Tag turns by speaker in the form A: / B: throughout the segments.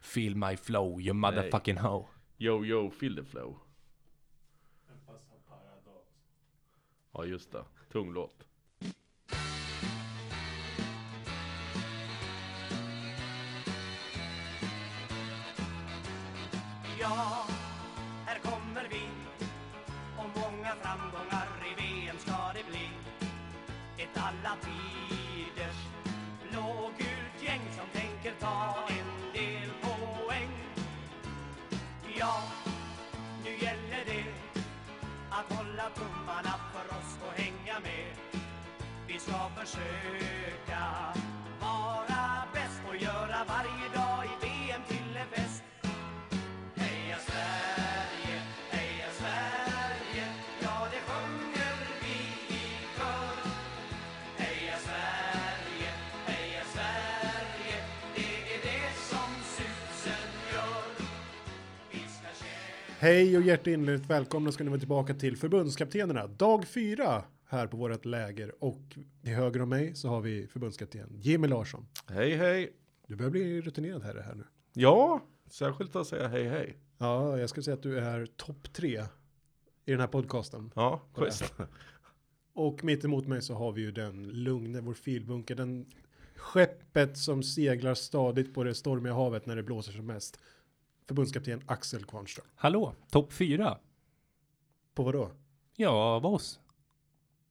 A: feel my flow you motherfucking hoe.
B: Yo yo feel the flow. Ja just det, tung låt.
C: Ja, här kommer vi Och många framgångar i VM ska det bli Ett alla tiders blågult gäng som tänker ta en del poäng Ja, nu gäller det att hålla tummarna för oss och hänga med Vi ska försöka vara bäst och göra varje dag i VM till en fest Heja Sverige, heja Sverige, ja det sjunger vi i kör. Heja Sverige, heja Sverige, det är det som susen gör. Vi ska kämpa
D: Hej och hjärtinnerligt välkomna ska ni vara tillbaka till förbundskaptenerna. Dag fyra här på vårt läger och till höger om mig så har vi förbundskapten Jimmy Larsson.
B: Hej hej.
D: Du börjar bli rutinerad här, här nu.
B: Ja, särskilt att säga hej hej.
D: Ja, jag skulle säga att du är topp tre i den här podcasten.
B: Ja, schysst.
D: Och mitt emot mig så har vi ju den lugne, vår filbunker, den skeppet som seglar stadigt på det stormiga havet när det blåser som mest. Förbundskapten Axel Kvarnström.
A: Hallå, topp fyra?
D: På vad då?
A: Ja, av oss.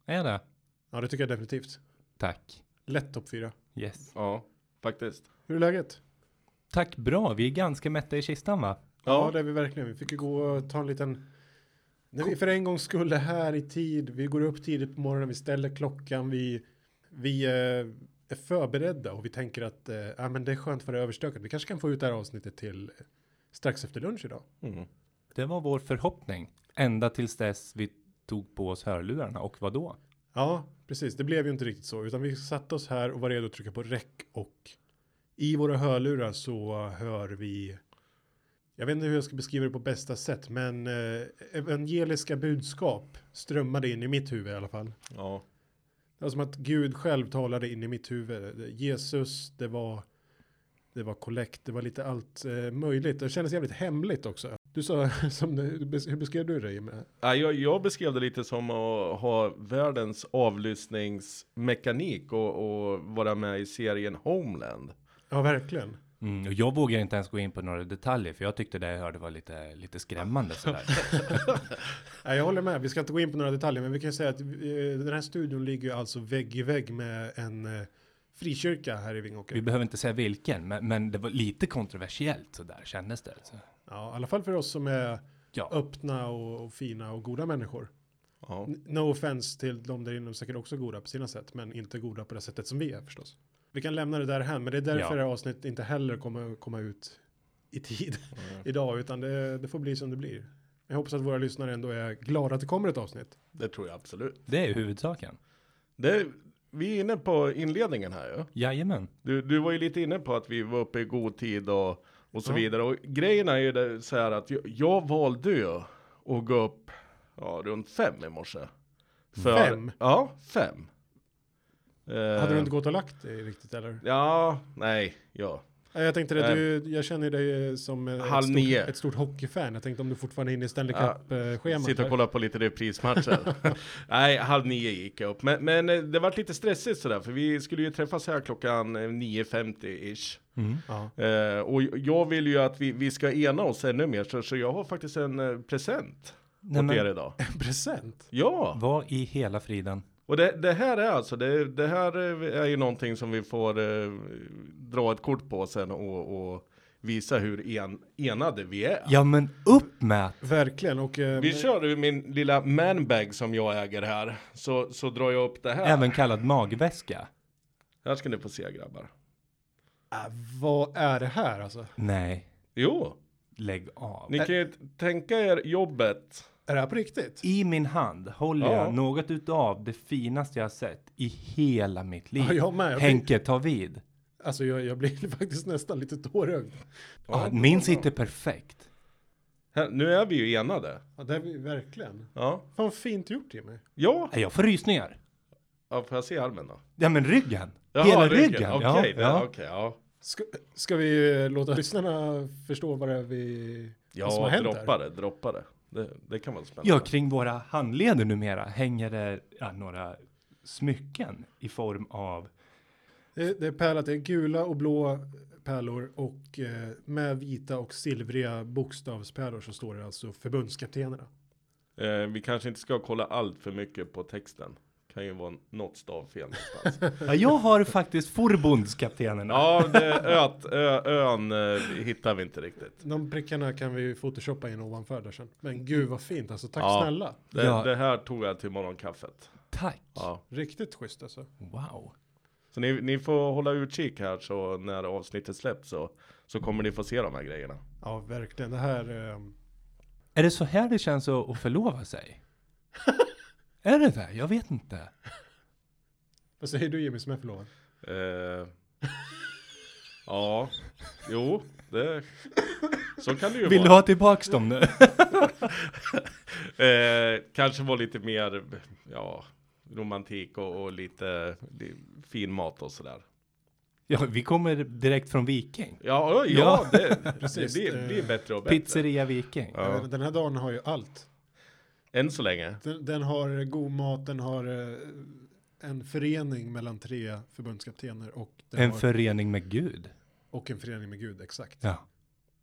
A: Är det?
D: Ja, det tycker jag definitivt.
A: Tack.
D: Lätt topp fyra.
A: Yes.
B: Ja, faktiskt.
D: Hur är läget?
A: Tack bra, vi är ganska mätta i kistan va?
D: Ja,
B: Ja,
D: det är vi verkligen. Vi fick ju gå och ta en liten... När vi för en gång skulle här i tid, vi går upp tidigt på morgonen, vi ställer klockan, vi, vi eh, är förberedda och vi tänker att eh, ja, men det är skönt för det är överstökat. Vi kanske kan få ut det här avsnittet till eh, strax efter lunch idag.
A: Det var vår förhoppning. Ända tills dess vi tog på oss hörlurarna och vad då?
D: Ja, precis. Det blev ju inte riktigt så, utan vi satte oss här och var redo att trycka på räck och i våra hörlurar så hör vi jag vet inte hur jag ska beskriva det på bästa sätt, men eh, evangeliska budskap strömmade in i mitt huvud i alla fall.
B: ja.
D: Det var som att Gud själv talade in i mitt huvud. Jesus, det var det var kollekt, det var lite allt eh, möjligt. Det kändes jävligt hemligt också. Du sa, som, du- hur beskrev du det Jimmy?
B: Ja, Äh, Jag, jag beskrev det lite som att ha världens avlyssningsmekanik och, och vara med i serien Homeland.
D: Ja, verkligen.
A: Mm, och jag vågar inte ens gå in på några detaljer för jag tyckte det jag hörde var lite, lite skrämmande sådär.
D: Nej, jag håller med. Vi ska inte gå in på några detaljer, men vi kan säga att eh, den här studion ligger ju alltså vägg i vägg med en eh, frikyrka här
A: Vi
D: i Vingåker.
A: behöver inte säga vilken, men, men det var lite kontroversiellt sådär kändes det. Så.
D: Ja, i alla fall för oss som är
A: Ja.
D: öppna och, och fina och goda människor.
B: Ja.
D: N- No offense till de där inne, de är säkert också goda på sina sätt, men inte goda på det sättet som vi är förstås. Vi kan lämna det där hem, men det är därför
A: Ja.
D: det här avsnittet inte heller kommer komma ut i tid
A: Mm.
D: idag, utan det, det får bli som det blir. Jag hoppas att våra lyssnare ändå är glada att det kommer ett avsnitt.
B: Det tror jag absolut.
A: Det är huvudsaken.
B: Det, vi är inne på inledningen här ju.
A: Jajamän.
B: Du, du var ju lite inne på att vi var uppe i god tid och, och så
D: Ja.
B: vidare. Och grejen är ju det, så här att jag, jag valde ju att gå upp ja, runt fem i morse. För-
D: Fem?
B: Ja, fem. Eh,
D: Hade du inte gått och lagt dig riktigt eller?
B: Ja, nej, ja.
D: Ja, Jag tänkte det, du, jag känner dig som eh,
B: Eh, Halv
D: ett, stort,
B: nio.
D: ett stort hockeyfan. Jag tänkte om du fortfarande är inne i Stanley
B: Ja,
D: Cup-schemat.
B: Sitta och kolla på lite reprismatcher. Nej, halv nio gick jag upp. Men, men eh, det var lite stressigt sådär, för vi skulle ju träffas här klockan eh, 9.50-ish.
D: Ja.
B: Eh, och jag vill ju att vi, vi ska ena oss ännu mer, så, så jag har faktiskt en eh, present
A: Nej,
B: åt
A: men-
B: er idag.
D: En present?
B: Ja,
A: Vad i hela friden?
B: och det, det här är alltså, det, det här eh, är ju någonting som vi får eh, dra ett kort på sen och, och visa hur en, enade vi är.
A: Ja men upp med!
D: Verkligen. Och, eh,
B: Vi kör ur min lilla manbag som jag äger här, så, så drar jag upp det här.
A: Även kallad magväska.
B: Här ska ni få se grabbar.
D: äh, vad är det här alltså?
A: Nej,
B: Jo,
A: lägg av.
B: ni kan ju t- tänka er jobbet.
D: Är det här på riktigt?
A: I min hand håller
B: Ja.
A: jag något utav det finaste jag har sett i hela mitt liv.
D: Ja, jag med. Jag blir-
A: Henke, ta vid.
D: Alltså jag, jag blir faktiskt nästan lite tårögd.
A: Ah, min sitter perfekt.
B: Här, nu är vi ju enade.
D: Ja, det är vi verkligen.
B: Ja,
D: Fan fint gjort Jimmy.
B: ja.
A: Nej, Jag får rysningar.
B: ja får jag se armen då?
A: Ja men ryggen.
B: Jaha,
A: hela ryggen.
B: Okej,
A: ja,
B: det-
A: ja.
B: okej, ja.
D: Ska, ska vi eh, låta lyssnarna förstå vad det är vi...
B: Ja,
D: vad som har hänt
B: droppa det, droppa det. det. Det kan vara spännande.
A: Ja, kring våra handleder numera hänger det ja, några smycken i form av
D: Det, det är pärlat, det är gula och blå pärlor och eh, med vita och silvriga bokstavspärlor så står det alltså förbundskaptenerna.
B: Eh, vi kanske inte ska kolla allt för mycket på texten. Kan ju vara något stavfel någonstans.
A: Ja, jag har faktiskt förbundskaptenerna.
B: ja, det, öt, ö, ön eh, hittar vi inte riktigt.
D: De prickarna kan vi photoshoppa in ovanför där sen. Men gud vad fint alltså, tack
B: Ja.
D: snälla.
B: Det,
A: Ja.
B: det här tog jag till morgonkaffet.
A: Tack.
B: Ja.
D: Riktigt schysst alltså.
A: Wow.
B: Så ni, ni får hålla utkik här så när avsnittet släpps så, så kommer ni få se de här grejerna.
D: Ja, verkligen. Det här... Eh,
A: Är det så här det känns att, att förlova sig? är det det? Jag vet inte.
D: vad säger du Jimmy som är förlovad?
B: Eh, ja, jo, det, så kan det ju
A: Vill du
B: vara.
A: ha tillbaks dem nu?
B: Eh, kanske vara lite mer, ja, romantik och, och lite, li, fin mat och sådär.
A: ja, vi kommer direkt från Viking.
B: Ja, ja,
A: Ja.
B: ja det,
D: Precis,
B: precis, det blir,
D: eh,
B: blir bättre och bättre.
A: Pizzeria Viking.
B: Ja.
D: Jag vet, Den här dagen har ju allt.
B: Än så länge.
D: Den, den har god mat, den har eh, en förening mellan tre förbundskaptener och, den
A: En
D: har,
A: förening med Gud.
D: och en förening med Gud, exakt.
A: Ja.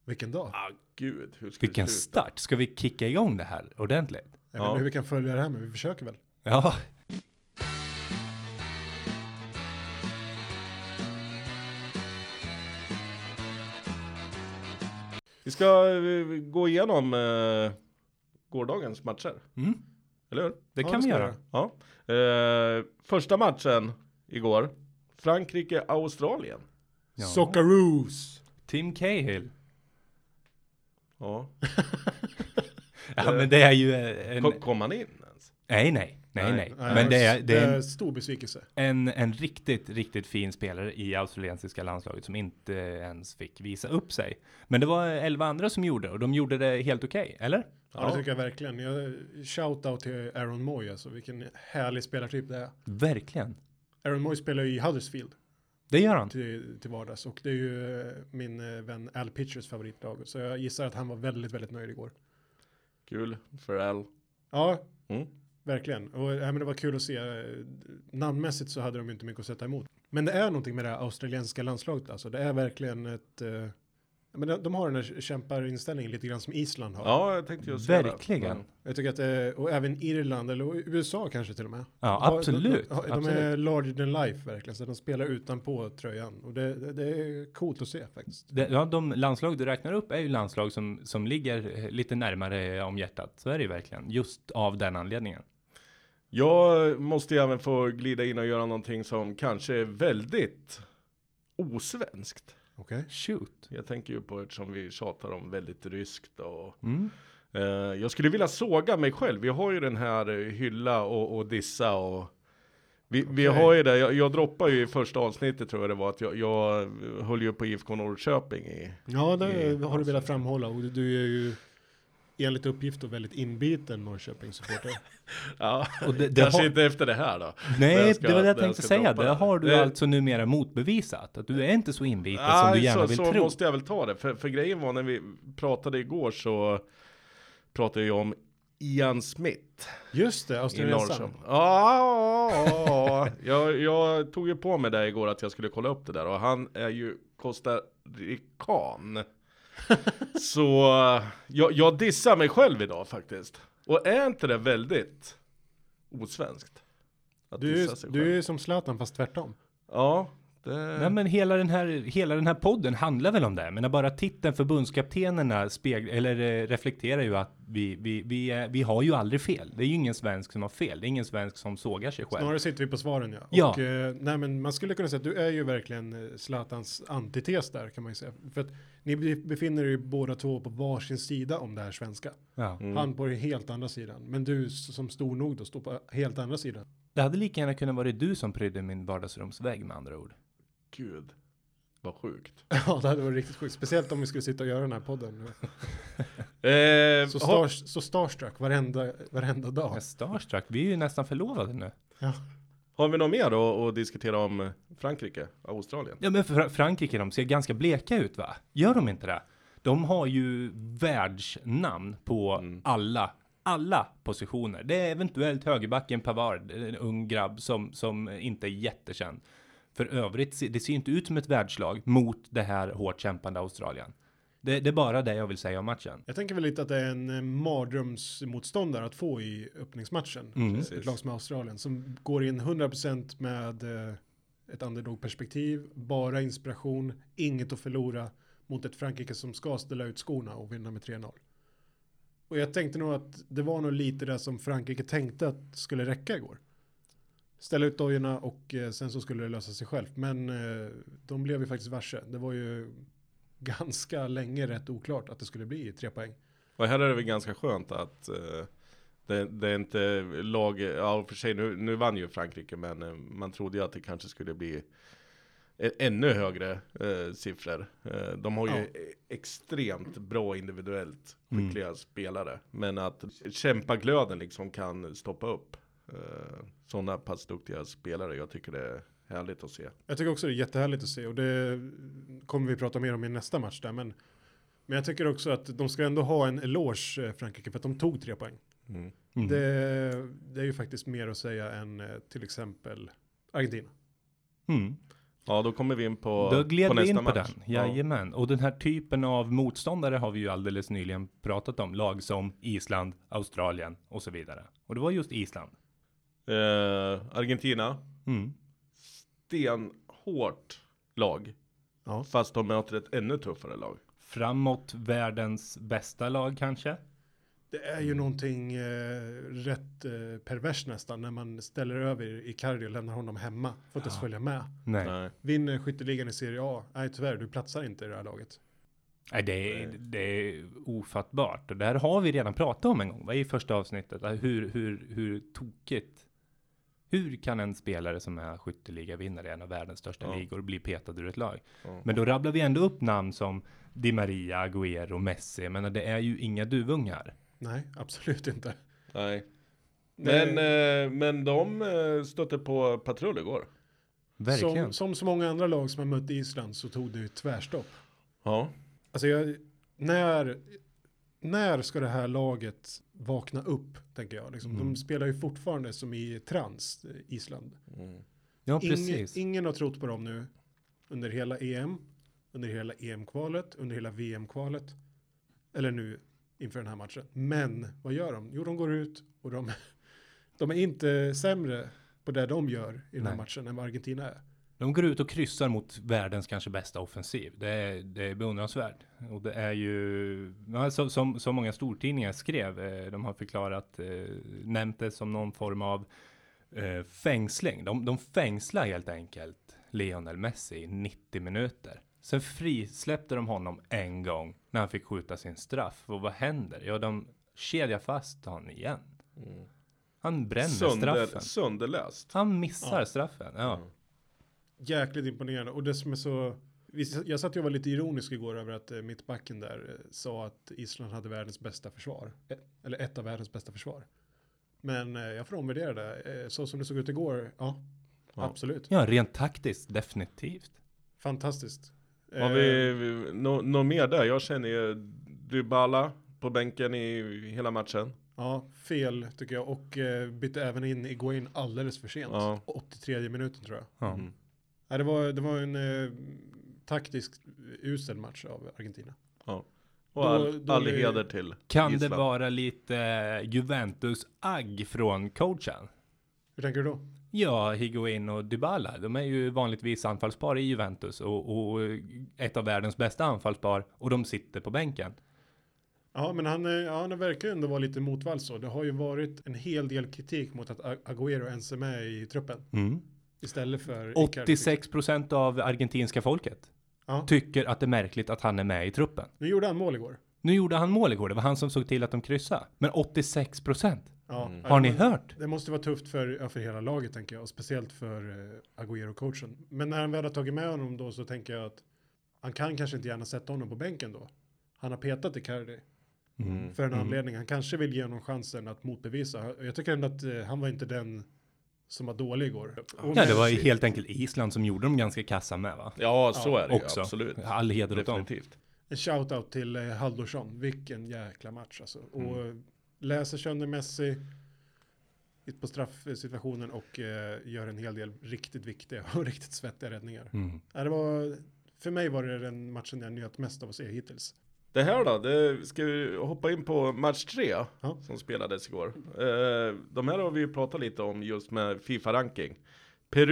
D: Vilken dag!
B: Ah, gud, hur ska vi
A: Vilken
B: sluta?
A: start. Ska vi kicka igång det här ordentligt?
D: Jag
B: Ja.
D: vet inte hur vi kan följa det här, men vi försöker väl.
A: Ja.
B: Vi ska eh, gå igenom eh, gårdagens matcher,
A: Mm.
B: eller hur?
A: Det
D: Ja,
A: kan vi
D: ska
A: göra.
D: vi.
B: Ja. Eh, första matchen igår, Frankrike-Australien.
A: Ja.
D: Socceroos!
A: Tim Cahill.
B: Ja.
A: Ja, men det är ju eh, en...
B: Kom, kom han in ens?
A: Nej, nej, nej,
B: Nej.
A: nej.
D: Nej, eh,
A: Men det är, det är en,
D: stor besvikelse.
A: en, en riktigt, riktigt fin spelare i australiensiska landslaget som inte ens fick visa upp sig. Men det var elva andra som gjorde och de gjorde det helt okej, eller?
D: Ja. det tycker jag verkligen. Jag, shout-out till Aaron Moy, alltså vilken härlig spelartyp det är.
A: Verkligen.
D: Aaron Moy spelar ju i Huddersfield
A: Det gör han.
D: till, till vardags och det är ju eh, min eh, vän Al Pitchers favoritlag. Så jag gissar att han var väldigt, väldigt nöjd igår.
B: Kul för Al.
D: Ja,
B: Mm.
D: verkligen. Och ja, men det var kul att se. eh, Namnmässigt så hade de ju inte mycket att sätta emot. Men det är någonting med det här australiensiska landslaget alltså. Det är verkligen ett... eh, ja, men de- de har den här kämparinställningen lite grann som Island har.
B: Ja, jag tänkte just säga det.
A: Verkligen.
B: Mm.
D: Jag tycker att, eh, och även Irland eller USA kanske till och med.
A: Ja,
D: Har-
A: absolut,
D: De, de, de är
A: absolut.
D: larger than life verkligen, så de spelar utanpå tröjan. Och det, det, det är coolt att se faktiskt.
A: Det, ja, de landslag du räknar upp är ju landslag som, som ligger eh, lite närmare om hjärtat. Så är det ju verkligen. Just av den anledningen.
B: Jag måste ju även få glida in och göra någonting som kanske är väldigt osvenskt.
D: Okej.
A: Shoot.
B: Jag tänker ju på eftersom vi tjatar om väldigt ryskt och
A: Mm.
B: eh, jag skulle vilja såga mig själv. Jag har ju den här eh, hylla och, och dissa och vi, vi
D: Okej.
B: har ju det. Jag, jag droppar ju i första avsnittet tror jag det var att jag, jag eh, höll ju på IFK Norrköping i
D: Ja, det
B: I-
D: har du velat framhålla. Och du är ju enligt uppgift då väldigt inbiten Norrköpingssupporter.
B: Ja,
A: Och det- det
B: kanske
A: har-
B: inte efter det här då. Men
A: Nej,
B: jag ska-
A: det var det jag
B: men
A: tänkte
B: ska
A: säga.
B: droppa
A: Det har du
B: Eh,
A: alltså numera motbevisat. Att du är inte så inbiten som
B: nej,
A: du gärna
B: så,
A: vill
B: så
A: tro.
B: måste jag väl ta det. För, för grejen var när vi pratade igår så pratade jag om Ian Smith
D: Just det,
B: i
D: australiensaren.
B: Norrköping. Ja, ja, ja. jag, jag tog ju på mig det igår att jag skulle kolla upp det där och han är ju costarican. Så jag, jag dissar mig själv idag faktiskt. Och är inte det väldigt osvenskt? Att
D: Du,
B: dissa sig
D: är-
B: själv?
D: du är som Zlatan fast tvärtom.
B: Ja, det...
A: Nej, men hela den, här, hela den här podden handlar väl om det. Men bara titeln förbundskaptenerna spegl, eller, eh, reflekterar ju att vi, vi, vi, eh, vi har ju aldrig fel. Det är ju ingen svensk som har fel. Det är ingen svensk som sågar sig själv.
D: Snarare sitter vi på svaren ja.
A: Ja.
D: Och, eh, nej, men man skulle kunna säga att du är ju verkligen eh, Zlatans antites där kan man ju säga. För att ni be- befinner er ju båda två på varsin sida om det här svenska.
A: Ja.
D: Han på den helt andra sidan. Men du s- som stor nog då står på helt andra sidan.
A: Det hade lika gärna kunnat vara du som prydde min vardagsrumsvägg med andra ord.
B: Gud, vad sjukt.
D: ja, det hade varit riktigt sjukt. Speciellt om vi skulle sitta och göra den här podden.
B: Eh,
D: Så,
B: ha,
D: star, så starstruck varenda, varenda dag.
A: Jag är starstruck. Vi är ju nästan förlovade nu.
D: Ja.
B: Har vi något mer då att diskutera om eh, Frankrike, Australien?
A: Ja, men Fra- Frankrike, de ser ganska bleka ut, va? Gör de inte det? De har ju världsnamn på
B: Mm.
A: alla, alla positioner. Det är eventuellt högerbacken Pavard, en ung grabb som, som inte är jättekänd. För övrigt, se- det ser ju inte ut som ett världslag mot det här hårt kämpande Australien. Det, det är bara det jag vill säga om matchen.
D: Jag tänker väl lite att det är en eh, mardrömsmotståndare att få i öppningsmatchen. Ett
B: Precis.
D: lag som Australien som går in 100% med eh, ett underdog-perspektiv, bara inspiration, inget att förlora mot ett Frankrike som ska ställa ut skorna och vinna med 3-0. Och jag tänkte nog att det var nog lite det som Frankrike tänkte att skulle räcka igår. Ställa ut dojorna och eh, sen så skulle det lösa sig självt. Men eh, de blev ju faktiskt varse. Det var ju ganska länge rätt oklart att det skulle bli tre poäng.
B: Och här är det väl ganska skönt att eh, det, det är inte lag, ja och för sig nu, nu vann ju Frankrike men eh, man trodde ju att det kanske skulle bli ä- ännu högre eh, siffror. Eh, de har ju e- extremt bra individuellt
A: Mm.
B: skickliga spelare. Men att kämpaglöden liksom kan stoppa upp eh, sådana pass duktiga spelare. Jag tycker det är härligt att se.
D: Jag tycker också det är jättehärligt att se och det kommer vi prata mer om i nästa match där. Men, men jag tycker också att de ska ändå ha en eloge eh, Frankrike för att de tog tre poäng.
B: Mm.
A: Mm.
D: Det, det är ju faktiskt mer att säga än eh, till exempel Argentina.
A: Mm.
B: Ja, då kommer vi in på,
A: Då gled
B: på
A: vi
B: nästa
A: in på
B: match.
A: den. Jajamän. Och den här typen av motståndare har vi ju alldeles nyligen pratat om. Lag som Island, Australien och så vidare. Och det var just Island.
B: Eh, Argentina.
A: Mm.
B: stenhårt lag.
D: Ja.
B: Fast de möter ett ännu tuffare lag.
A: Framåt världens bästa lag kanske?
D: Det är ju någonting eh, rätt eh, pervers nästan när man ställer över Icardi och lämnar honom hemma. Får inte ens följa med.
A: Nej.
B: Nej.
D: Vinner skytteligan i Serie A. Nej tyvärr, du platsar inte i det här laget.
A: Nej, det är, det är ofattbart. Och det här har vi redan pratat om en gång. Vad är i första avsnittet? Alltså, Hur, hur, hur tokigt? Hur kan en spelare som är skytteliga vinnare i en av världens största
B: Ja.
A: ligor bli petad ur ett lag?
B: Ja.
A: Men då rabblar vi ändå upp namn som Di Maria, Agüero, Messi. Men det är ju inga duvungar.
D: Nej, absolut inte.
B: Nej. Men, eh, men de eh, stötte på patrull igår.
A: Verkligen.
D: Som, som så många andra lag som har mött Island så tog det ju tvärstopp.
B: Ja.
D: Alltså jag, när, när ska det här laget vakna upp, tänker jag. Liksom,
A: Mm.
D: De spelar ju fortfarande som i trans, eh, Island.
A: ja,
D: Ingen,
A: precis.
D: ingen har trott på dem nu under hela EM, under hela EM-kvalet, under hela VM-kvalet. Eller nu inför den här matchen. Men vad gör de? Jo, de går ut och de, de är inte sämre på det de gör i den här
A: Nej.
D: matchen än vad Argentina är.
A: De går ut och kryssar mot världens kanske bästa offensiv. Det är, det är beundransvärt. Och det är ju, ja, så, som, som många stortidningar skrev, eh, de har förklarat, eh, nämnt det som någon form av eh, fängsling. De, de fängslar helt enkelt Lionel Messi i 90 minuter. Sen frisläppte de honom en gång när han fick skjuta sin straff. Och vad händer? Ja, de kedjar fast honom igen. Han bränner
B: Sönder,
A: straffen.
B: sönderläst.
A: Han missar straffen. Ja.
D: Jäkligt imponerande. Och det som är så... visst, Jag satt ju och var lite ironisk igår över att eh, mittbacken där eh, sa att Island hade världens bästa försvar. Eh, Eller ett av världens bästa försvar. Men eh, jag får omvärdera det. Eh, Så som det såg ut igår, ja. Absolut.
A: ja, rent taktiskt definitivt.
D: Fantastiskt. Eh.
B: Har vi, vi nå- nå mer där? Jag känner ju Dybala på bänken i hela matchen.
D: Ja, fel tycker jag. Och eh, bytte även in Iguain alldeles för sent.
B: Ja.
D: 83 minuten tror jag.
A: Ja.
B: Mhm.
D: Nej, det, var, det var en eh, taktisk usel match av Argentina.
B: Ja. Och
D: Då-
B: all,
D: då
B: all
D: är-
B: heder till
A: Kan
B: Island.
A: det vara lite eh, Juventus-agg från coachen?
D: Hur tänker du då?
A: Ja, Higuain och Dybala, de är ju vanligtvis anfallspar i Juventus och, och ett av världens bästa anfallspar och de sitter på bänken.
D: Ja, men han, eh, ja, han verkar ju ändå vara lite motvalls så. Det har ju varit en hel del kritik mot att A- Agüero ens är med i truppen istället för Icardi.
A: 86 procent av argentinska folket
D: Ja.
A: tycker att det är märkligt att han är med i truppen.
D: Nu gjorde han mål igår.
A: Nu gjorde han mål igår, det var han som såg till att de kryssade. Men 86 procent,
D: Ja, ja,
A: har
D: det
A: ni
D: må-
A: hört?
D: Det måste vara tufft för, ja, för hela laget tänker jag och speciellt för eh, Agüero-coachen. Men när han väl har tagit med honom då så tänker jag att han kan kanske inte gärna sätta honom på bänken då. Han har petat Icardi för en anledning. Han kanske vill ge honom chansen att motbevisa. Jag tycker ändå att eh, han var inte den som var dålig igår. Och
A: Ja, det var ju helt enkelt Island som gjorde dem ganska kassa med va?
B: Ja, så är det
A: Också.
B: ju, absolut.
A: All heder åt dem.
B: Definitivt.
D: En shoutout till eh, Haldursson. Vilken jäkla match alltså.
A: Mm.
D: Och eh, läser sönder Messi på straffsituationen och eh, gör en hel del riktigt viktiga och riktigt svettiga räddningar.
A: Mm.
D: Ja, det var, för mig var det den matchen jag njöt mest av att se hittills.
B: Det här då, det ska vi hoppa in på match tre
D: Ja.
B: som spelades igår. Eh, de här har vi ju pratat lite om just med Fifa-ranking.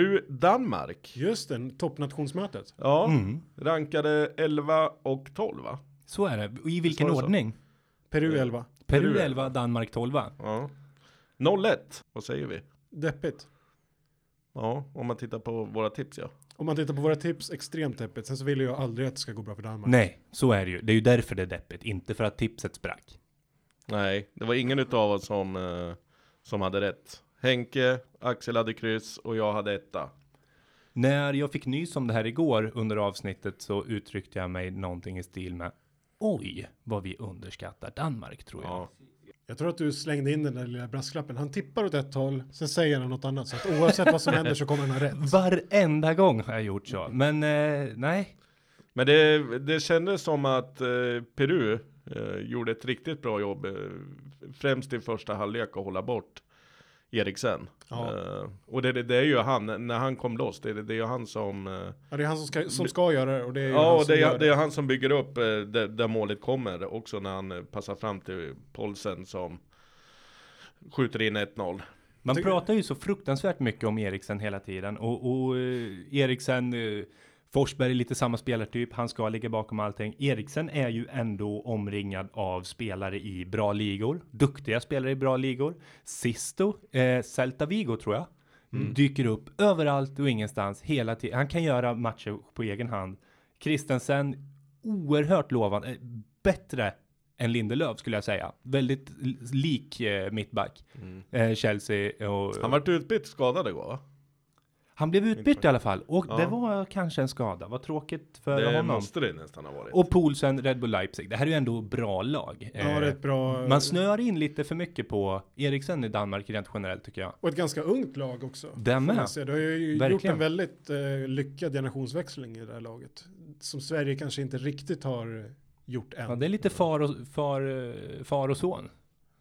B: Peru-Danmark.
D: Just den, toppnationsmötet.
B: Ja,
A: Mm.
B: rankade 11 och 12 va?
A: Så är det. Och I vilken
B: Sa du så?
A: ordning? Mm.
D: Peru 11.
A: Peru
B: Peru
A: 11, Danmark 12.
B: Ja. 0-1, vad säger vi?
D: Deppigt.
B: Ja, om man tittar på våra tips ja.
D: Om man tittar på våra tips, extremt deppigt. Sen så vill jag aldrig att det ska gå bra för Danmark.
A: Nej, så är det ju. Det är ju därför det är deppigt, inte för att tipset sprack.
B: Nej, det var ingen utav oss som, eh, som hade rätt. Henke, Axel hade kryss och jag hade etta.
A: När jag fick nys om det här igår under avsnittet så uttryckte jag mig någonting i stil med Oj, vad vi underskattar Danmark tror jag.
B: Ja.
D: Jag tror att du slängde in den där lilla brasklappen. Han tippar åt ett håll, sen säger han något annat. Så att oavsett vad som händer så kommer han ha rätt.
A: Varenda gång har jag gjort så, men eh, nej.
B: Men det, det kändes som att eh, Peru eh, gjorde ett riktigt bra jobb, eh, främst i första halvlek att hålla bort Eriksen.
D: Ja.
B: Eh, och det, det, det är ju han, när han kom loss, det, det, det är ju han som eh,
D: Ja, det är han som ska, som ska göra det och det är ju han
B: Ja, och
D: som
B: det
D: gör
B: är, det är han som bygger upp eh, där, där målet kommer också när han eh, passar fram till Polsen som skjuter in 1-0.
A: Man
D: Tycker-
A: pratar ju så fruktansvärt mycket om Eriksen hela tiden och, och eh, Eriksen, eh, Forsberg är lite samma spelartyp, han ska ligga bakom allting. Eriksen är ju ändå omringad av spelare i bra ligor, duktiga spelare i bra ligor. Sisto, eh, Celta Vigo tror jag, dyker upp överallt och ingenstans hela tiden. Han kan göra matcher på egen hand. Kristensen, oerhört lovande, eh, bättre än Lindelöf skulle jag säga. Väldigt l- lik eh, mittback. Eh, Chelsea och...
B: Han
A: Han,
B: vart utbytt skadad igår va?
A: blev utbytt i alla fall. Och
B: Ja.
A: det var kanske en skada. Vad tråkigt för
B: Det
A: honom.
B: måste det nästan ha varit.
A: Och Poulsen, Red Bull Leipzig. Det här är ju ändå bra lag.
D: det. Ja,
A: Eh,
D: det är ett bra...
A: Man snöar in lite för mycket på Eriksen i Danmark rent generellt tycker jag.
D: Och ett ganska ungt lag också.
A: Den
D: får
A: med.
D: man säga. Det har ju gjort
A: Verkligen.
D: en väldigt eh, lyckad generationsväxling i det här laget. Som Sverige kanske inte riktigt har gjort än.
A: Ja, det är lite far och, far, eh, far och son.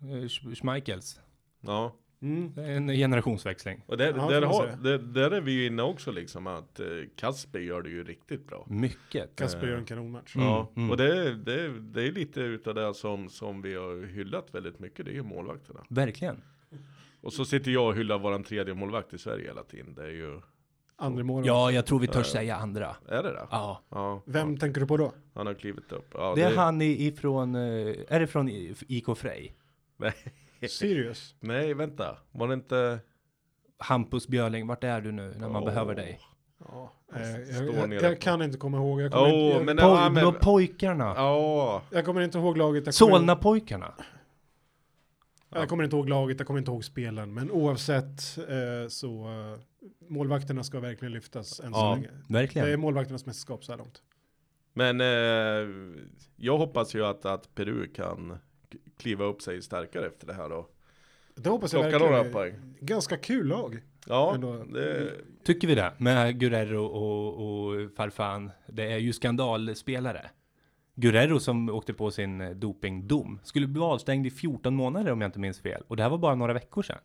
A: Eh, Sch- Schmeichels.
B: Ja.
D: Mm.
A: Det är En generationsväxling.
B: Och där,
D: Ja,
B: där,
D: får man
B: har,
D: säga.
B: där, där är vi ju inne också liksom att eh, Kasper gör det ju riktigt bra.
A: Mycket.
D: Kasper gör en kanonmatch.
A: Mm,
B: Eh, ja,
A: mm.
B: och det, det, det är lite utav det som, som vi har hyllat väldigt mycket, det är ju målvakterna.
A: Verkligen.
B: Och så sitter jag och hyllar våran tredje målvakt i Sverige hela tiden, det är ju,
D: Andra mål.
A: Ja, jag tror vi törs säga andra.
B: är det det?
A: Ja.
B: Ja,
D: Vem tänker du på då?
B: han har klivit upp. Ja,
A: Det är han i- ifrån, eh, är det från i- IK Frej?
D: Sirius.
B: Nej, vänta, var det inte?
A: Hampus Björling, vart är du nu när man
B: Åh.
A: behöver dig?
D: Ja, eh,
B: står
D: jag, jag,
B: nere
D: jag
B: på.
D: kan inte komma ihåg. Jag kommer,
B: Åh,
D: inte,
B: men,
D: jag,
A: Poj
B: ja, men,
A: de pojkarna!
B: ja,
D: jag kommer inte ihåg laget. Jag kommer,
A: Solna-pojkarna!
D: jag kommer inte ihåg laget. Jag kommer inte ihåg spelen. Men oavsett eh, så eh, målvakterna ska verkligen lyftas än så
B: Ja.
D: länge. Det är
A: Mm. Verkligen.
D: målvakternas mästerskap så här långt.
B: men eh, jag hoppas ju att, att Peru kan k- kliva upp sig starkare efter det här då.
D: Det hoppas jag
B: Plocka några
D: verkligen.
B: poäng.
D: Ganska kul lag.
B: Ja,
D: Ändå-
B: det,
A: Tycker vi det? Med Guerrero och, och Farfan. Det är ju skandalspelare. Guerrero som åkte på sin eh, dopingdom skulle bli avstängd i 14 månader om jag inte minns fel. Och det här var bara några veckor sedan.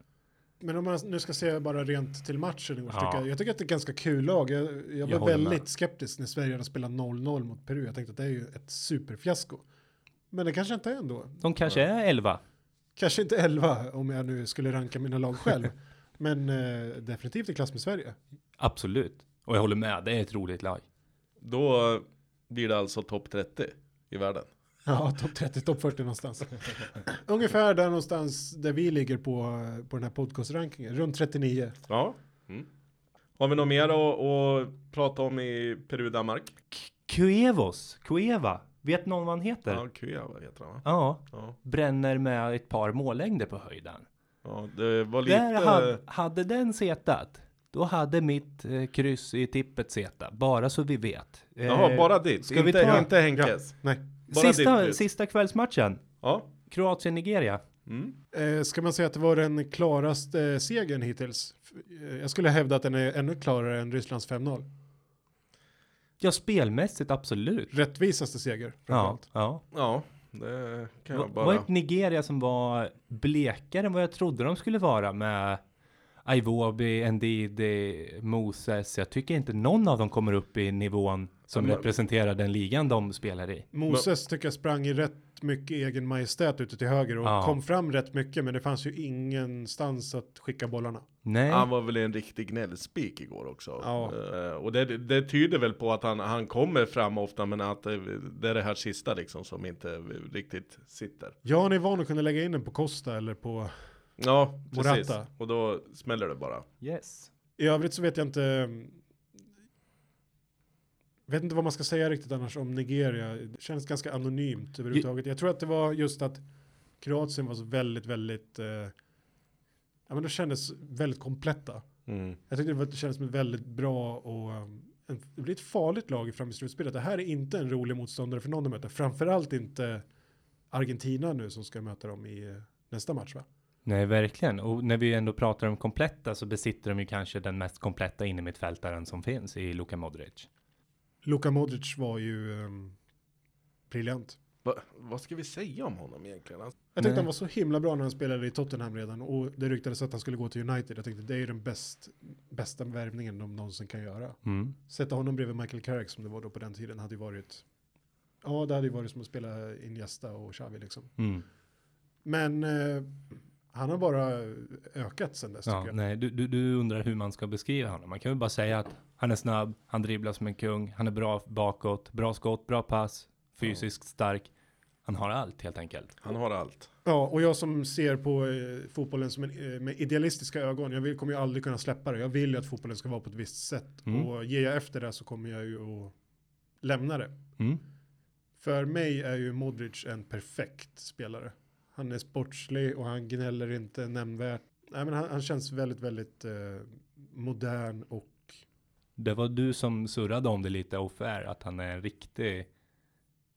D: Men om man nu ska se bara rent till matchen igår, så
A: Ja.
D: tycker jag, jag tycker att det är ett ganska kul lag. Jag, jag var
A: håller
D: väldigt
A: med.
D: skeptisk när Sverige hade spelat 0-0 mot Peru. Jag tänkte att det är ju ett superfiasko. Men det kanske inte är ändå.
A: De kanske är 11.
D: Kanske inte 11 om jag nu skulle ranka mina lag själv. Men eh, definitivt i klass med Sverige.
A: Absolut. Och jag håller med, det är ett roligt lag.
B: då blir det alltså topp 30 i världen.
D: Ja, topp 30, topp 40 någonstans. Ungefär där någonstans där vi ligger på, på den här podcastrankingen. Runt 39.
B: Ja. Mm. Har vi något mer att, att prata om i Peru-Danmark?
A: Cuevos, Cueva. Vet någon vad han heter?
B: Ja,
A: Ja.
B: Kueva heter han va? Ja.
A: Bränner med ett par mållängder på höjden.
B: ja, det var lite...
A: Där hade, hade den setat, då hade mitt eh, kryss i tippet seta. Bara så vi vet. Eh,
B: Jaha, bara ditt?
A: ska vi
B: Inte,
A: ta-
B: inte Henkes?
D: Nej,
B: Bara
A: Eh, sista,
B: ditt kryss?
A: sista kvällsmatchen,
B: Ja,
A: Kroatien-Nigeria.
B: Mm.
D: Eh, ska man säga att det var den klaraste eh, segern hittills? F- eh, Jag skulle hävda att den är ännu klarare än Rysslands 5-0.
A: Ja, spelmässigt absolut.
D: Rättvisaste seger.
A: Ja,
D: framförallt.
A: ja.
B: Ja, det kan
A: Va-
B: jag
A: Var
B: bara...
A: ett Nigeria som var blekare än vad jag trodde de skulle vara med Iwobi, Ndidi, Moses. Jag tycker inte någon av dem kommer upp i nivån som
B: Ja, men-
A: representerar den ligan de spelar i.
D: Moses tycker jag sprang i rätt mycket egen majestät ute till höger och
A: Ja.
D: kom fram rätt mycket men det fanns ju ingenstans att skicka bollarna.
A: Nej,
B: Han var väl en riktig gnällspik igår också.
D: Ja.
B: Eh, och det, det tyder väl på att han, han kommer fram ofta men att det, det är det här sista liksom som inte riktigt sitter.
D: Ja, han är van att kunna lägga in den på Costa eller på...
B: Ja, precis.
D: Morata.
B: Och då smäller det bara.
A: yes.
D: I övrigt så vet jag inte... mm, Vet inte vad man ska säga riktigt annars om Nigeria. Det känns ganska anonymt överhuvudtaget. Jag tror att det var just att Kroatien var så väldigt, väldigt... Eh, ja, men de kändes väldigt kompletta.
B: Mm.
D: Jag tyckte det var- det kändes som ett väldigt bra och um, en, det blir ett farligt lag fram i slutspelet. Det här är inte en rolig motståndare för någon att möta. Framförallt inte Argentina nu som ska möta dem i eh, nästa match va?
A: Nej, verkligen. Och när vi ändå pratar om kompletta så besitter de ju kanske den mest kompletta innermittfältaren som finns i Luka Modric.
D: Luka Modric var ju um, briljant.
B: Va, vad ska vi säga om honom egentligen? Han-
D: Jag tyckte
A: Nej.
D: han var så himla bra när han spelade i Tottenham redan och det ryktades att han skulle gå till United. Jag tänkte det är ju den bäst, bästa värvningen de någonsin kan göra.
A: Mm.
D: Sätta honom bredvid Michael Carrick som det var då på den tiden hade ju varit. Ja, det hade ju varit som att spela Iniesta och Xavi liksom.
A: Mm.
D: Men eh, han har bara ökat sen dess
A: Ja,
D: tycker jag.
A: nej, du, du, du undrar hur man ska beskriva honom. Man kan väl bara säga att han är snabb, han dribblar som en kung, han är bra bakåt, bra skott, bra pass, fysiskt stark. Han har allt helt enkelt.
B: Han har allt.
D: Ja, och jag som ser på eh, fotbollen som en, eh, med idealistiska ögon, jag vill, kommer ju aldrig kunna släppa det. Jag vill ju att fotbollen ska vara på ett visst sätt.
A: Mm.
D: Och ger jag efter det så kommer jag ju att lämna det.
A: Mm.
D: För mig är ju Modric en perfekt spelare. Han är sportslig och han gnäller inte nämnvärt. Nej, men han, han känns väldigt, väldigt eh, modern och
A: Det var du som surrade om det lite off air, att han är en riktig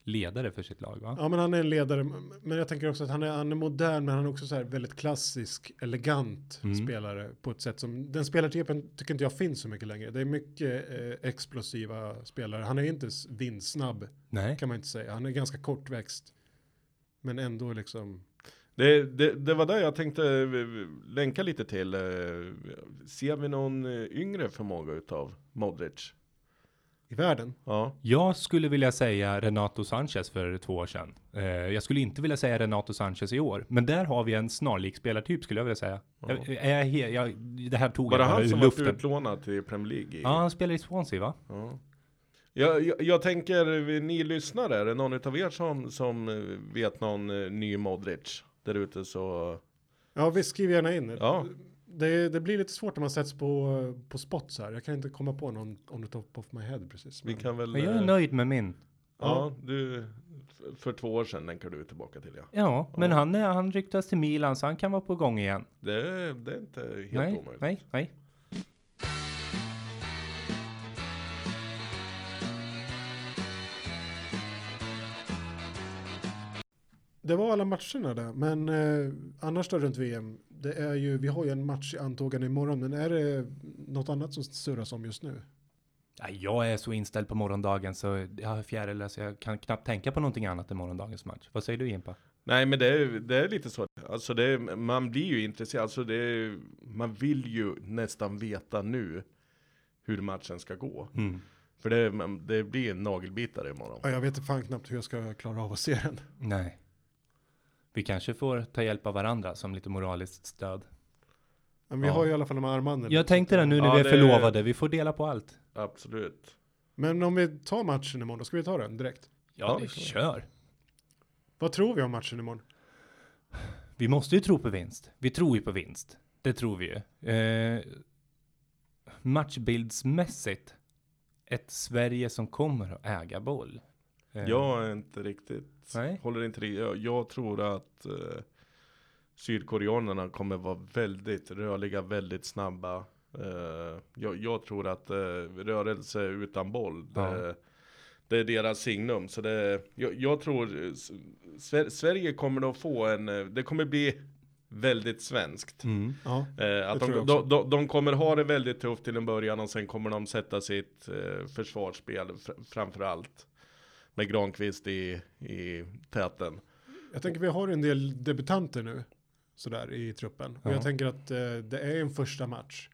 A: ledare för sitt lag va?
D: Ja, men han är en ledare. Men jag tänker också att han är, han är modern, men han är också så här väldigt klassisk, elegant
A: Mm.
D: spelare på ett sätt som den spelartypen tycker inte jag finns så mycket längre. Det är mycket eh, explosiva spelare. Han är inte s- vindsnabb
A: Nej.
D: kan man inte säga. Han är ganska kortväxt, men ändå liksom.
B: Det, det, det var där jag tänkte eh, länka lite till. eh, Ser vi någon eh, yngre förmåga utav Modric?
D: I världen?
B: Ja.
A: Jag skulle vilja säga Renato Sanchez för två år sedan. Eh, jag skulle inte vilja säga Renato Sanchez i år, men där har vi en snarlik spelartyp skulle jag vilja säga. Jag, är jag, he- jag, det här tog
B: Var det
A: jag bara
B: han
A: ur
B: som var
A: luften.
B: utlånad till Premier League? i-
A: Ja, han spelar i Swansea va?
B: Ja. Jag, jag, jag tänker, eh, ni lyssnare, är det någon utav er som, som eh, vet någon eh, ny Modric? Där ute så,
D: Ja, visst skriv gärna in.
B: ja.
D: Det, det blir lite svårt när man sätts på, på spot så här. Jag kan inte komma på någon on the top of my head precis.
B: Vi
D: Men,
B: kan väl...
A: Men jag är
B: eh,
A: nöjd med min.
B: Ja, du, f- för två år sedan länkar du tillbaka till ja.
A: Ja, men han, är, han ryktas till Milan så han kan vara på gång igen.
B: Det, det är inte helt
A: Nej,
B: omöjligt.
A: nej, nej.
D: Det var alla matcherna där, men eh, annars då runt VM, det är ju, vi har ju en match i antågande imorgon, men är det något annat som surras om just nu?
A: Ja, Jag är så inställd på morgondagen så jag har fjärilar så jag kan knappt tänka på någonting annat än morgondagens match. Vad säger du Jimpa?
B: Nej, men det, är- det är lite så. Alltså det, är- man blir ju intresserad. Alltså det, är- man vill ju nästan veta nu hur matchen ska gå.
A: Mm.
B: För det, man- det blir en nagelbitare imorgon.
D: Ja, Jag vet fan knappt hur jag ska klara av att se den.
A: Nej. Vi kanske får ta hjälp av varandra som lite moraliskt stöd.
D: Men vi
A: Ja.
D: har ju i alla fall de här armbanden.
A: Jag tänkte det nu när
B: typ. Ja,
A: vi är
B: det-
A: förlovade, vi får dela på allt.
B: Absolut.
D: Men om vi tar matchen imorgon, då ska vi ta den direkt.
A: Ja,
B: det
A: vi
B: får vi.
A: kör.
D: Vad tror vi om matchen imorgon?
A: Vi måste ju tro på vinst. Vi tror ju på vinst. Det tror vi ju. Eh, matchbildsmässigt. Ett Sverige som kommer att äga boll. Eh,
B: Jag är inte riktigt,
A: Nej.
B: håller inte riktigt. Jag, jag tror att eh, sydkoreanerna kommer vara väldigt rörliga, väldigt snabba. Eh, jag, jag tror att eh, rörelse utan boll, det,
A: Ja.
B: det är deras signum. Så det, jag, jag tror eh, s- Sver- Sverige kommer att få en, eh, det kommer bli väldigt svenskt.
D: Ja.
B: Eh, att
D: tror
B: de,
D: jag
B: de, de, de kommer ha det väldigt tufft till en början och sen kommer de sätta sitt eh, försvarsspel fr- framför allt. Med Granqvist i, i täten.
D: Jag tänker vi har en del debutanter nu sådär i truppen. Och
A: Ja.
D: jag tänker att eh, det är en första match.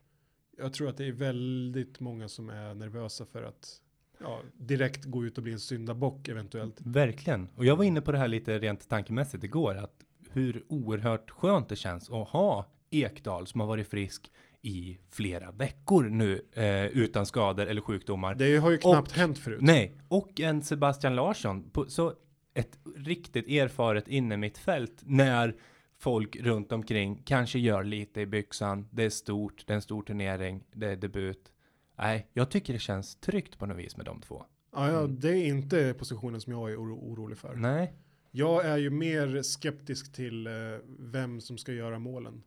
D: Jag tror att det är väldigt många som är nervösa för att ja, direkt gå ut och bli en syndabock eventuellt.
A: Verkligen. Och jag var inne på det här lite rent tankemässigt igår, att hur oerhört skönt det känns att ha Ekdal som har varit frisk i flera veckor nu eh, utan skador eller sjukdomar.
D: Det har ju knappt
A: Och-
D: hänt förut.
A: Nej, och en Sebastian Larsson. På, så ett riktigt erfaret inne mitt fält när folk runt omkring kanske gör lite i byxan. Det är stort, det är en stor turnering, det är debut. Nej, jag tycker det känns tryggt på något vis med de två.
D: Ja, ja, det är inte positionen som jag är oro orolig för.
A: Nej,
D: Jag är ju mer skeptisk till eh, vem som ska göra målen.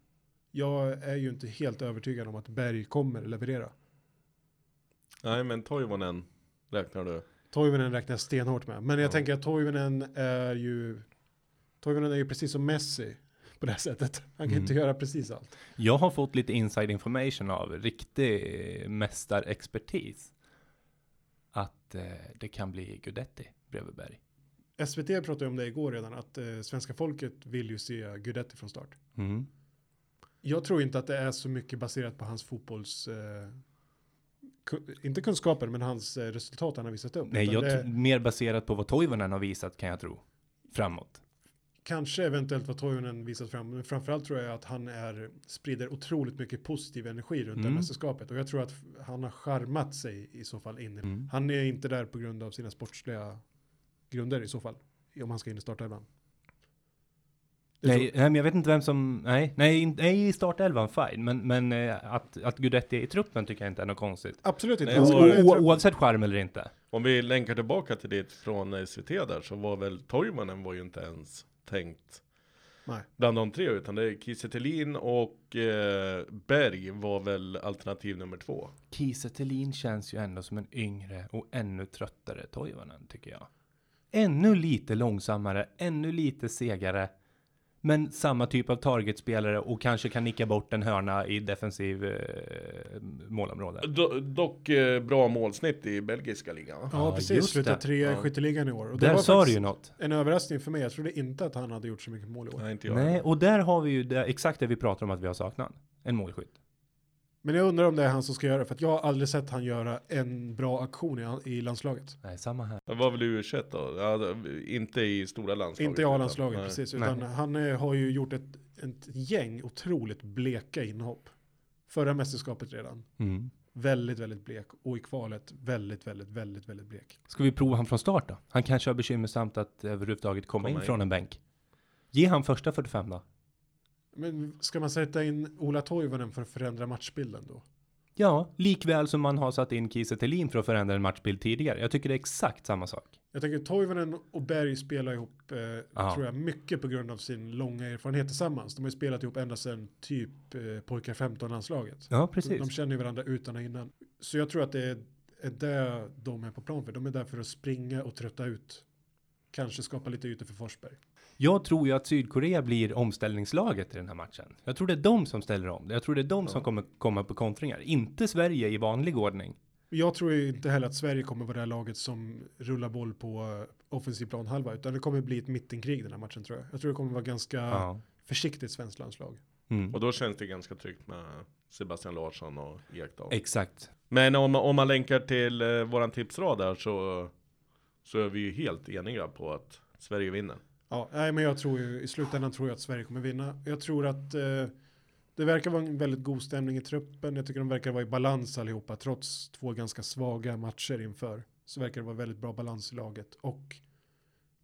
D: Jag är ju inte helt övertygad om att Berg kommer leverera.
B: Nej men Toivonen räknar du.
D: Toivonen räknar jag stenhårt med. Men jag tänker att Toivonen är ju... Toivonen är ju precis som Messi på det här sättet. Han kan
A: Mm.
D: inte göra precis allt.
A: jag har fått lite inside information av riktig eh, mästarexpertis. Att eh, det kan bli Gudetti bredvid Berg.
D: SVT pratade ju om det igår redan, att eh, svenska folket vill ju se Gudetti från start.
A: Mm.
D: Jag tror inte att det är så mycket baserat på hans fotbolls... Eh, ku- inte kunskaper, men hans eh, resultat han har visat upp.
A: Nej,
D: Utan
A: jag
D: det
A: tr- mer baserat på vad Toivonen har visat kan jag tro. Framåt.
D: Kanske eventuellt vad Toivonen visat fram, men framförallt tror jag att han är, sprider otroligt mycket positiv energi runt det här
A: Mm.
D: mästerskapet. Och jag tror att f- han har charmat sig i så fall in. i-
A: Mm.
D: Han är inte där på grund av sina sportsliga grunder i så fall. Om han ska in i startelvan. Det
A: Nej,
D: tror-
A: nej, men jag vet inte vem som, nej, nej, in- nej i startelvan fine, men, men eh, att, att Gudetti är i truppen tycker jag inte är något konstigt.
D: Absolut inte.
B: Nej,
D: Han
B: och-
D: ska vara i
A: O,
D: truppen.
A: oavsett skärm eller inte.
B: Om vi länkar tillbaka till det från SVT där så var väl Toivonen var ju inte ens tänkt
D: Nej.
B: bland de tre utan det är Kiese Thelin och eh, Berg var väl alternativ nummer två.
A: Kiese Thelin känns ju ändå som en yngre och ännu tröttare Toivonen tycker jag. Ännu lite långsammare, ännu lite segare. Men samma typ av targetspelare och kanske kan nicka bort en hörna i defensiv eh, målområde.
B: Do, dock eh, bra målsnitt i belgiska ligan. va?
D: Ja,
A: Ja,
D: precis.
A: just
D: Slutar
A: det.
D: trea i
B: Ja.
D: skytteligan i år. Och det
A: Där
D: var
A: sa du
D: faktiskt
A: ju något.
D: En överraskning för mig. Jag trodde inte att han hade gjort så mycket mål i år.
B: Nej, inte jag.
A: Nej, och där har vi ju det, exakt det vi pratar om att vi har saknat. En målskytt.
D: Men jag undrar om det är han som ska göra det, för att jag har aldrig sett han göra en bra aktion i, i landslaget.
A: Nej, samma här.
B: Det var väl U21 då? Ja, det- inte i stora landslaget.
D: Inte i
B: utan-
D: A-landslaget
B: nej.
D: precis,
A: Nej.
D: utan han eh, har ju gjort ett, ett gäng otroligt bleka inhopp. Förra mästerskapet redan,
A: Mm.
D: väldigt, väldigt blek. Och i kvalet, väldigt, väldigt, väldigt, väldigt blek.
A: Ska vi prova han från start då? Han kanske har bekymmersamt att överhuvudtaget komma,
B: Komma
A: in,
B: in.
A: från en bänk. Ge han första 45 då.
D: Men ska man sätta in Ola Toivonen för att förändra matchbilden då?
A: Ja, likväl som man har satt in Kiese Thelin för att förändra en matchbild tidigare. Jag tycker det är exakt samma sak.
D: Jag tänker Toivonen och Berg spelar ihop, eh,
A: Ja.
D: tror jag, mycket på grund av sin långa erfarenhet tillsammans. De har ju spelat ihop ända sedan typ eh, pojkar 15-landslaget.
A: Ja,
D: De
A: precis.
D: känner ju varandra utan och innan. Så jag tror att det är, är det de är på plan för. De är där för att springa och trötta ut. Kanske skapa lite ytor för Forsberg.
A: Jag tror ju att Sydkorea blir omställningslaget i den här matchen. Jag tror det är de som ställer om. Jag tror det är de som kommer komma på kontringar. Inte Sverige i vanlig ordning.
D: Jag tror ju inte heller att Sverige kommer vara det här laget som rullar boll på eh, offensiv planhalva. Utan det kommer bli ett mittenkrig den här matchen tror jag. Jag tror det kommer vara ganska
A: Ja.
D: försiktigt svenskt landslag.
A: Mm.
B: Och då känns det ganska tryggt med Sebastian Larsson och Ekdal.
A: Exakt.
B: Men om, om man länkar till eh, våran tipsrad där så, så är vi ju helt eniga på att Sverige vinner.
D: Ja, nej men jag tror ju, i slutändan tror jag att Sverige kommer vinna. Jag tror att eh, det verkar vara en väldigt god stämning i truppen. Jag tycker de verkar vara i balans allihopa. Trots två ganska svaga matcher inför så verkar det vara väldigt bra balans i laget. Och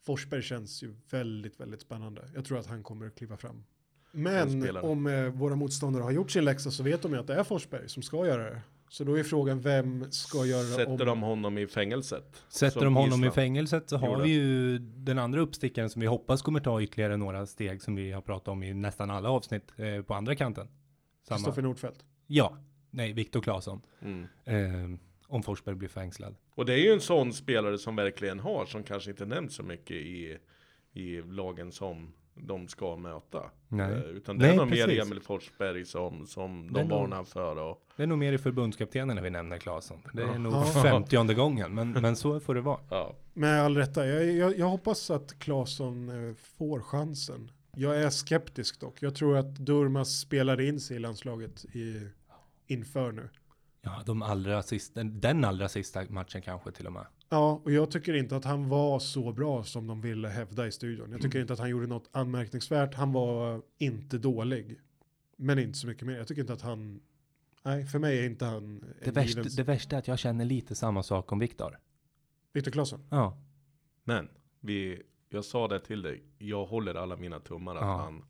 D: Forsberg känns ju väldigt, väldigt spännande. Jag tror att han kommer att kliva fram.
B: Den
D: Men
B: spelaren.
D: om eh, våra motståndare har gjort sin läxa så vet de ju att det är Forsberg som ska göra det. Så då är frågan vem ska göra det om...
B: Sätter de honom i fängelset?
A: Sätter
B: Som
A: de honom i
B: gisslan.
A: fängelset så har
B: Gjorde.
A: vi ju den andra uppstickaren som vi hoppas kommer ta ytterligare några steg som vi har pratat om i nästan alla avsnitt eh, på andra kanten.
D: Kristoffer
A: Samma.
D: Nordfeldt.
A: Ja, nej, Viktor Claesson.
B: Mm.
A: Eh, om Forsberg blir fängslad.
B: Och det är ju en sån spelare som verkligen har, som kanske inte nämns så mycket i, i lagen som de ska möta.
A: Nej.
B: Eh, Utan det
A: Nej,
B: är nog mer
A: precis.
B: Emil Forsberg som, som
A: Det är
B: de
A: nog-
B: varnar för. Och,
A: Det är nog mer i förbundskaptenen när vi nämner Claesson. Det är
B: Ja.
A: nog
D: Ja.
A: femtionde gången, men, men så får det vara.
B: ja.
D: Med all rätta. Jag, jag, jag hoppas att Claesson eh, får chansen. Jag är skeptisk dock. Jag tror att Durmas spelar in sig i landslaget i, inför nu.
A: Ja, de allra sista, den allra sista matchen kanske till och med.
D: Ja, och jag tycker inte att han var så bra som de ville hävda i studion. Jag
A: Mm.
D: tycker inte att han gjorde något anmärkningsvärt. Han var inte dålig, men inte så mycket mer. Jag tycker inte att han... Nej, för mig är inte han en
A: Det värsta,
D: given-
A: det värsta är att jag känner lite samma sak om Viktor.
D: Viktor Claesson.
A: Ja,
B: Men vi, jag sa det till dig, jag håller alla mina tummar att
A: Ja.
B: han,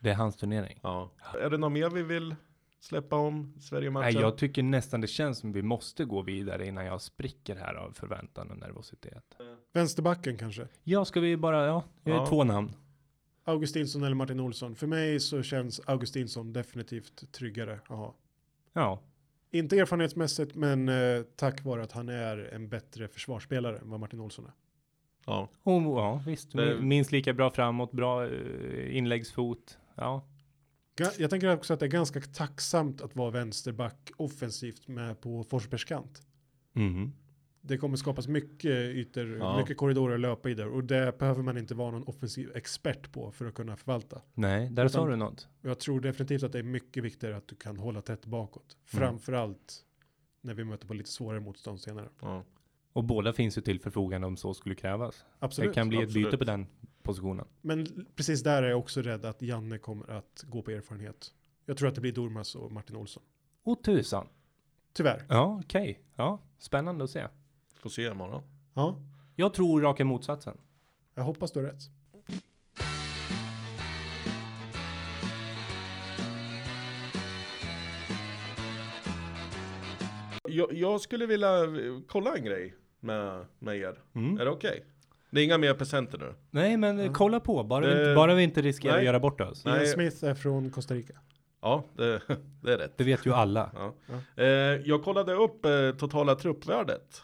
A: det är hans turnering.
B: ja. Är det något mer vi vill släppa om Sverige-matchen?
A: Nej, jag tycker nästan det känns som vi måste gå vidare innan jag spricker här av förväntan och nervositet.
D: Vänsterbacken kanske.
A: Ja, ska vi bara, ja, det är
B: Ja.
A: två namn.
D: Augustinsson eller Martin Olsson. För mig så känns Augustinsson definitivt tryggare. Aha.
A: Ja,
D: Inte erfarenhetsmässigt, men eh, tack vare att han är en bättre försvarsspelare än vad Martin Olsson är.
B: Ja.
A: och, ja visst.
B: Det-
A: Minst lika bra framåt, bra eh, inläggsfot. Ja,
D: Ga- Jag tänker också att det är ganska tacksamt att vara vänsterback offensivt med på Forsbergs kant.
A: mm.
D: Det kommer skapas mycket ytor,
B: Ja.
D: mycket korridorer och löpidor och det behöver man inte vara någon offensiv expert på för att kunna förvalta.
A: nej, där sa
D: Utan-
A: du något.
D: Och jag tror definitivt att det är mycket viktigare att du kan hålla tätt bakåt.
A: Mm.
D: Framförallt när vi möter på lite svårare motstånd senare.
B: ja.
A: Och båda finns ju till förfogande om så skulle krävas.
D: Absolut.
A: det kan bli ett byte
B: absolut.
A: på den positionen.
D: Men l- precis där är jag också rädd att Janne kommer att gå på erfarenhet. Jag tror att det blir Dormas och Martin Olsson.
A: Och tusan.
D: Tyvärr.
A: Ja, okej. Ja, spännande att se.
B: Får se imorgon.
D: Ja,
A: Jag tror raka motsatsen.
D: jag hoppas du har rätt.
B: Jag, jag skulle vilja eh, kolla en grej med, med er.
A: Mm.
B: Är det okej? Det är inga mer presenter nu.
A: Nej, men eh, kolla på. Bara, vi,
B: Det-
A: inte- bara vi inte riskerar att
B: Nej.
A: göra bort oss.
B: Nej.
D: Ian Smith är från Costa Rica.
B: Ja, det, det är rätt.
A: Det vet ju alla.
B: Ja. Eh, jag kollade upp eh, totala truppvärdet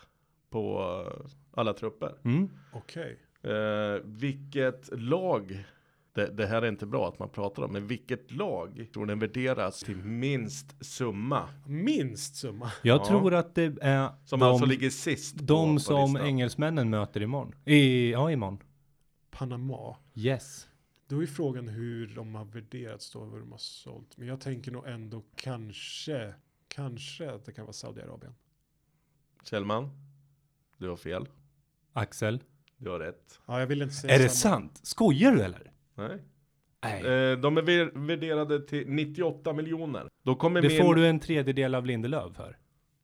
B: på eh, alla trupper.
A: Mm.
D: Okej.
B: Eh, vilket lag, det, det här är inte bra att man pratar om, men vilket lag tror den värderas till minst summa?
D: Minst summa.
A: Jag
B: Ja.
A: tror att det är
B: Som
A: de,
B: alltså ligger sist på,
A: de
B: på
A: som
B: listan.
A: engelsmännen möter imorgon. I, ja, imorgon.
D: Panama.
A: Yes.
D: Då är frågan hur de har värderats då, vad de har sålt. Men jag tänker nog ändå kanske, kanske att det kan vara Saudiarabien.
B: Kjellman, du har fel.
A: Axel.
B: Du har rätt.
D: Ja, jag vill inte säga
A: Är det
D: samma.
A: sant? Skojar du eller?
B: Nej.
A: Nej.
B: Eh, de är vär- värderade till 98 miljoner. Då kommer,
A: det får
B: min,
A: du en tredjedel av Lindelöf för.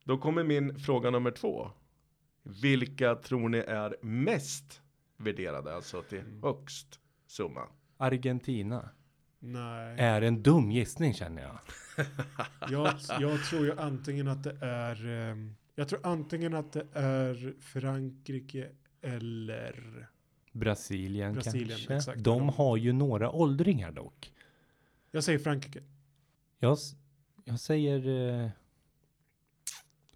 B: då kommer min fråga nummer två. Vilka tror ni är mest värderade, alltså till högst summa?
A: Argentina.
D: Nej,
A: Är en dum gissning känner jag.
D: jag, jag tror ju antingen att det är, ehm, jag tror antingen att det är Frankrike eller,
A: Brasilien,
D: Brasilien,
A: kanske.
D: exakt.
A: De har ju några åldringar dock.
D: jag säger Frankrike.
A: Jag, s- jag säger... eh,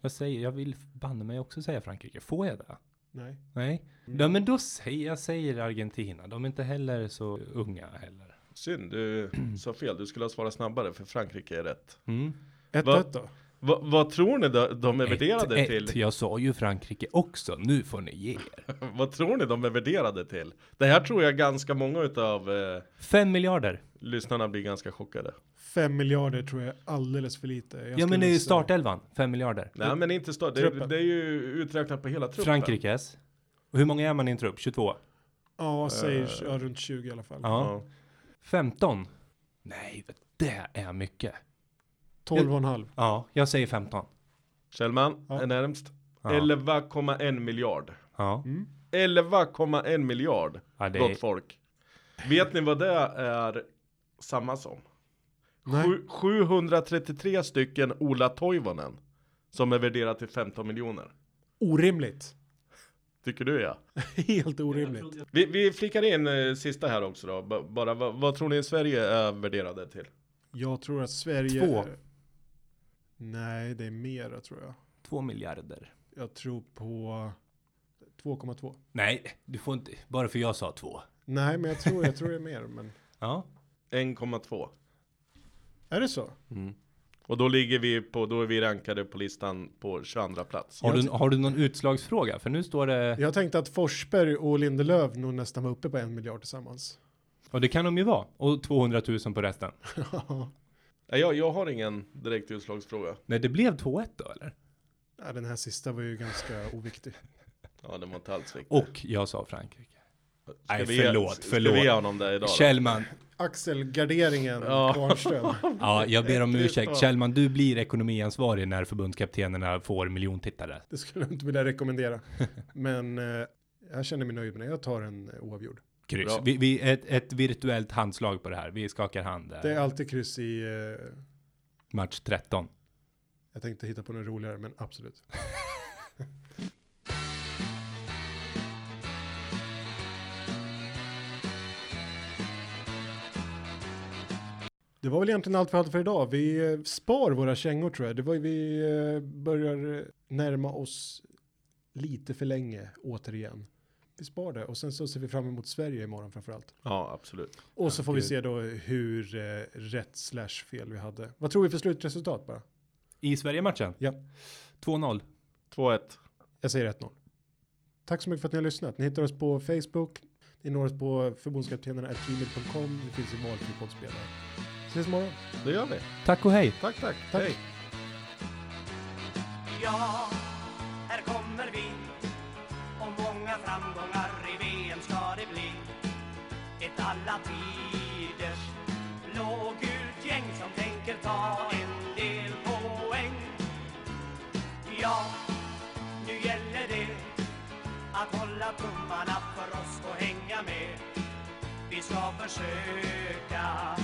A: Jag säger, jag vill banne mig också säga Frankrike. Får jag det?
D: Nej.
A: Nej, ja, men då säger jag säger Argentina. De är inte heller så unga heller.
B: Synd, du sa fel. Du skulle ha svarat snabbare, för Frankrike är rätt.
A: Mm.
D: 1-1 då.
B: Va, vad tror ni de, de är värderade
A: ett, Ett.
B: till?
A: Jag sa ju Frankrike också. Nu får ni ge er.
B: Vad tror ni de är värderade till? Det här tror jag ganska många utav eh,
A: Fem miljarder.
B: lyssnarna blir ganska chockade.
D: 5 miljarder tror jag är alldeles för lite. Jag
A: ja,
D: skulle
A: men det är ju
D: säga-
A: startelvan. Fem miljarder.
B: Nej, men inte stort. Det,
D: Truppen.
B: det är ju uträknat på hela truppen.
A: Frankrikes. Och hur många är man i en trupp? 22?
D: Ja, jag säger ja, runt 20 i alla fall.
A: Ja.
B: Ja.
A: 15? Nej, det är mycket.
D: 12,5.
A: Ja, jag säger 15.
B: Kjellman
D: Ja.
B: är närmst.
A: Ja.
B: 11,1 miljard.
A: Ja,
B: 11,1 miljard,
A: ja det är
B: gott folk. Vet ni vad det är samma som?
D: Nej.
B: Sju- 733 stycken Ola Toivonen som är värderat till 15 miljoner.
D: Orimligt.
B: Tycker du ja?
D: Helt orimligt.
B: Vi, vi flickar in eh, sista här också då. B- bara vad, vad tror ni Sverige är värderade till?
D: Jag tror att Sverige...
A: Två.
D: Nej, det är mera tror jag.
A: 2 miljarder.
D: Jag tror på 2,2.
A: Nej, du får inte. Bara för jag sa 2.
D: Nej, men jag tror, jag tror det är mer. Men...
A: Ja.
B: 1,2.
D: Är det så?
B: Och då ligger vi på, då är vi rankade på listan på 22 plats.
A: Har, du, har du någon utslagsfråga? För nu står det,
D: Jag tänkte att Forsberg och Lindelöf nog nästan var uppe på en miljard tillsammans.
A: och det kan de ju vara, och 200 000 på resten.
B: Nej, Jag, jag har ingen direkt utslagsfråga.
A: Nej, det blev 2-1 då eller?
D: Ja, den här sista var ju ganska oviktig.
B: Ja, det var inte alls viktigt.
A: Och jag sa Frankrike.
B: Ska
A: Nej,
B: vi ge-
A: förlåt,
B: Ska vi ge
A: förlåt.
B: honom det idag då?
A: Kjellman,
D: Axel Garderingen
B: Ja.
D: Kvarnström.
A: ja, jag ber om ursäkt. Kjellman, du blir ekonomiansvarig när förbundskaptenerna får miljontittare.
D: Det skulle jag inte vilja rekommendera. Men eh, jag känner mig nöjd med det. Jag tar en eh, oavgjord.
A: Kryss.
B: Bra.
A: Vi, vi, ett, ett virtuellt handslag på det här. Vi skakar hand. eh,
D: Det är alltid kryss i... Eh,
A: Match 13.
D: jag tänkte hitta på något roligare, men absolut. Det var väl egentligen allt vi hade för idag. Vi eh, spar våra kängor tror jag. Det var ju vi eh, börjar eh, närma oss lite för länge återigen. Vi spar det och sen så ser vi fram emot Sverige imorgon framförallt.
B: Ja, absolut.
D: Och så får vi se då hur eh, rätt slash fel vi hade. Vad tror vi för slutresultat bara?
A: I Sverige-matchen?
D: Ja.
A: 2-0.
B: 2-1.
D: Jag säger 1-0. Tack så mycket för att ni har lyssnat. Ni hittar oss på Facebook. Ni når oss på förbundskaptenerna.gmail.com. Det finns i valfri poddspelare. Ses imorgon.
B: Det gör vi.
A: Tack och hej.
B: Tack, tack.
D: Tack.
B: Hej.
C: Ja, här kommer vi Och många framgångar i VM ska det bli Ett alla tiders blågult gäng som tänker ta en del poäng Ja, nu gäller det att hålla tummarna för oss och hänga med Vi ska försöka